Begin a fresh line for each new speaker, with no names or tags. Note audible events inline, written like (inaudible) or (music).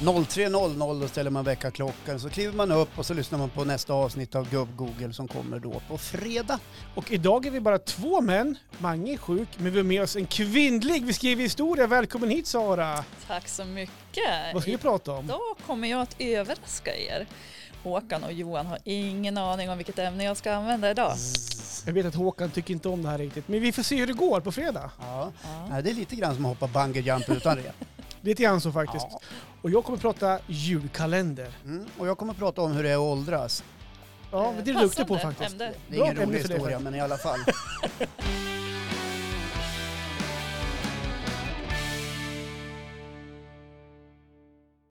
03.00 ställer man väckarklockan, så kliver man upp och så lyssnar man på nästa avsnitt av Gubb-Google som kommer då på fredag.
Och idag är vi bara två män. Mange är sjuk, men vi har med oss en kvinnlig. Vi skriver historia. Välkommen hit Sara!
Tack så mycket.
Vad ska vi prata om?
Idag kommer jag att överraska er. Håkan och Johan har ingen aning om vilket ämne jag ska använda idag.
Jag vet att Håkan tycker inte om det här riktigt, men vi får se hur det går på fredag.
Ja.
Ja.
Nej, det är lite grann som att hoppa bungee jump utan
(laughs)
rep.
Lite grann så faktiskt.
Ja.
Och jag kommer prata julkalender.
Mm. Och jag kommer att prata om hur det är att åldras.
Ja,
Eh,
men det är du duktig på
passande
faktiskt.
ämne.
Det är
Bra
ingen
ämne
rolig
för dig
historia,
faktiskt.
men i alla fall.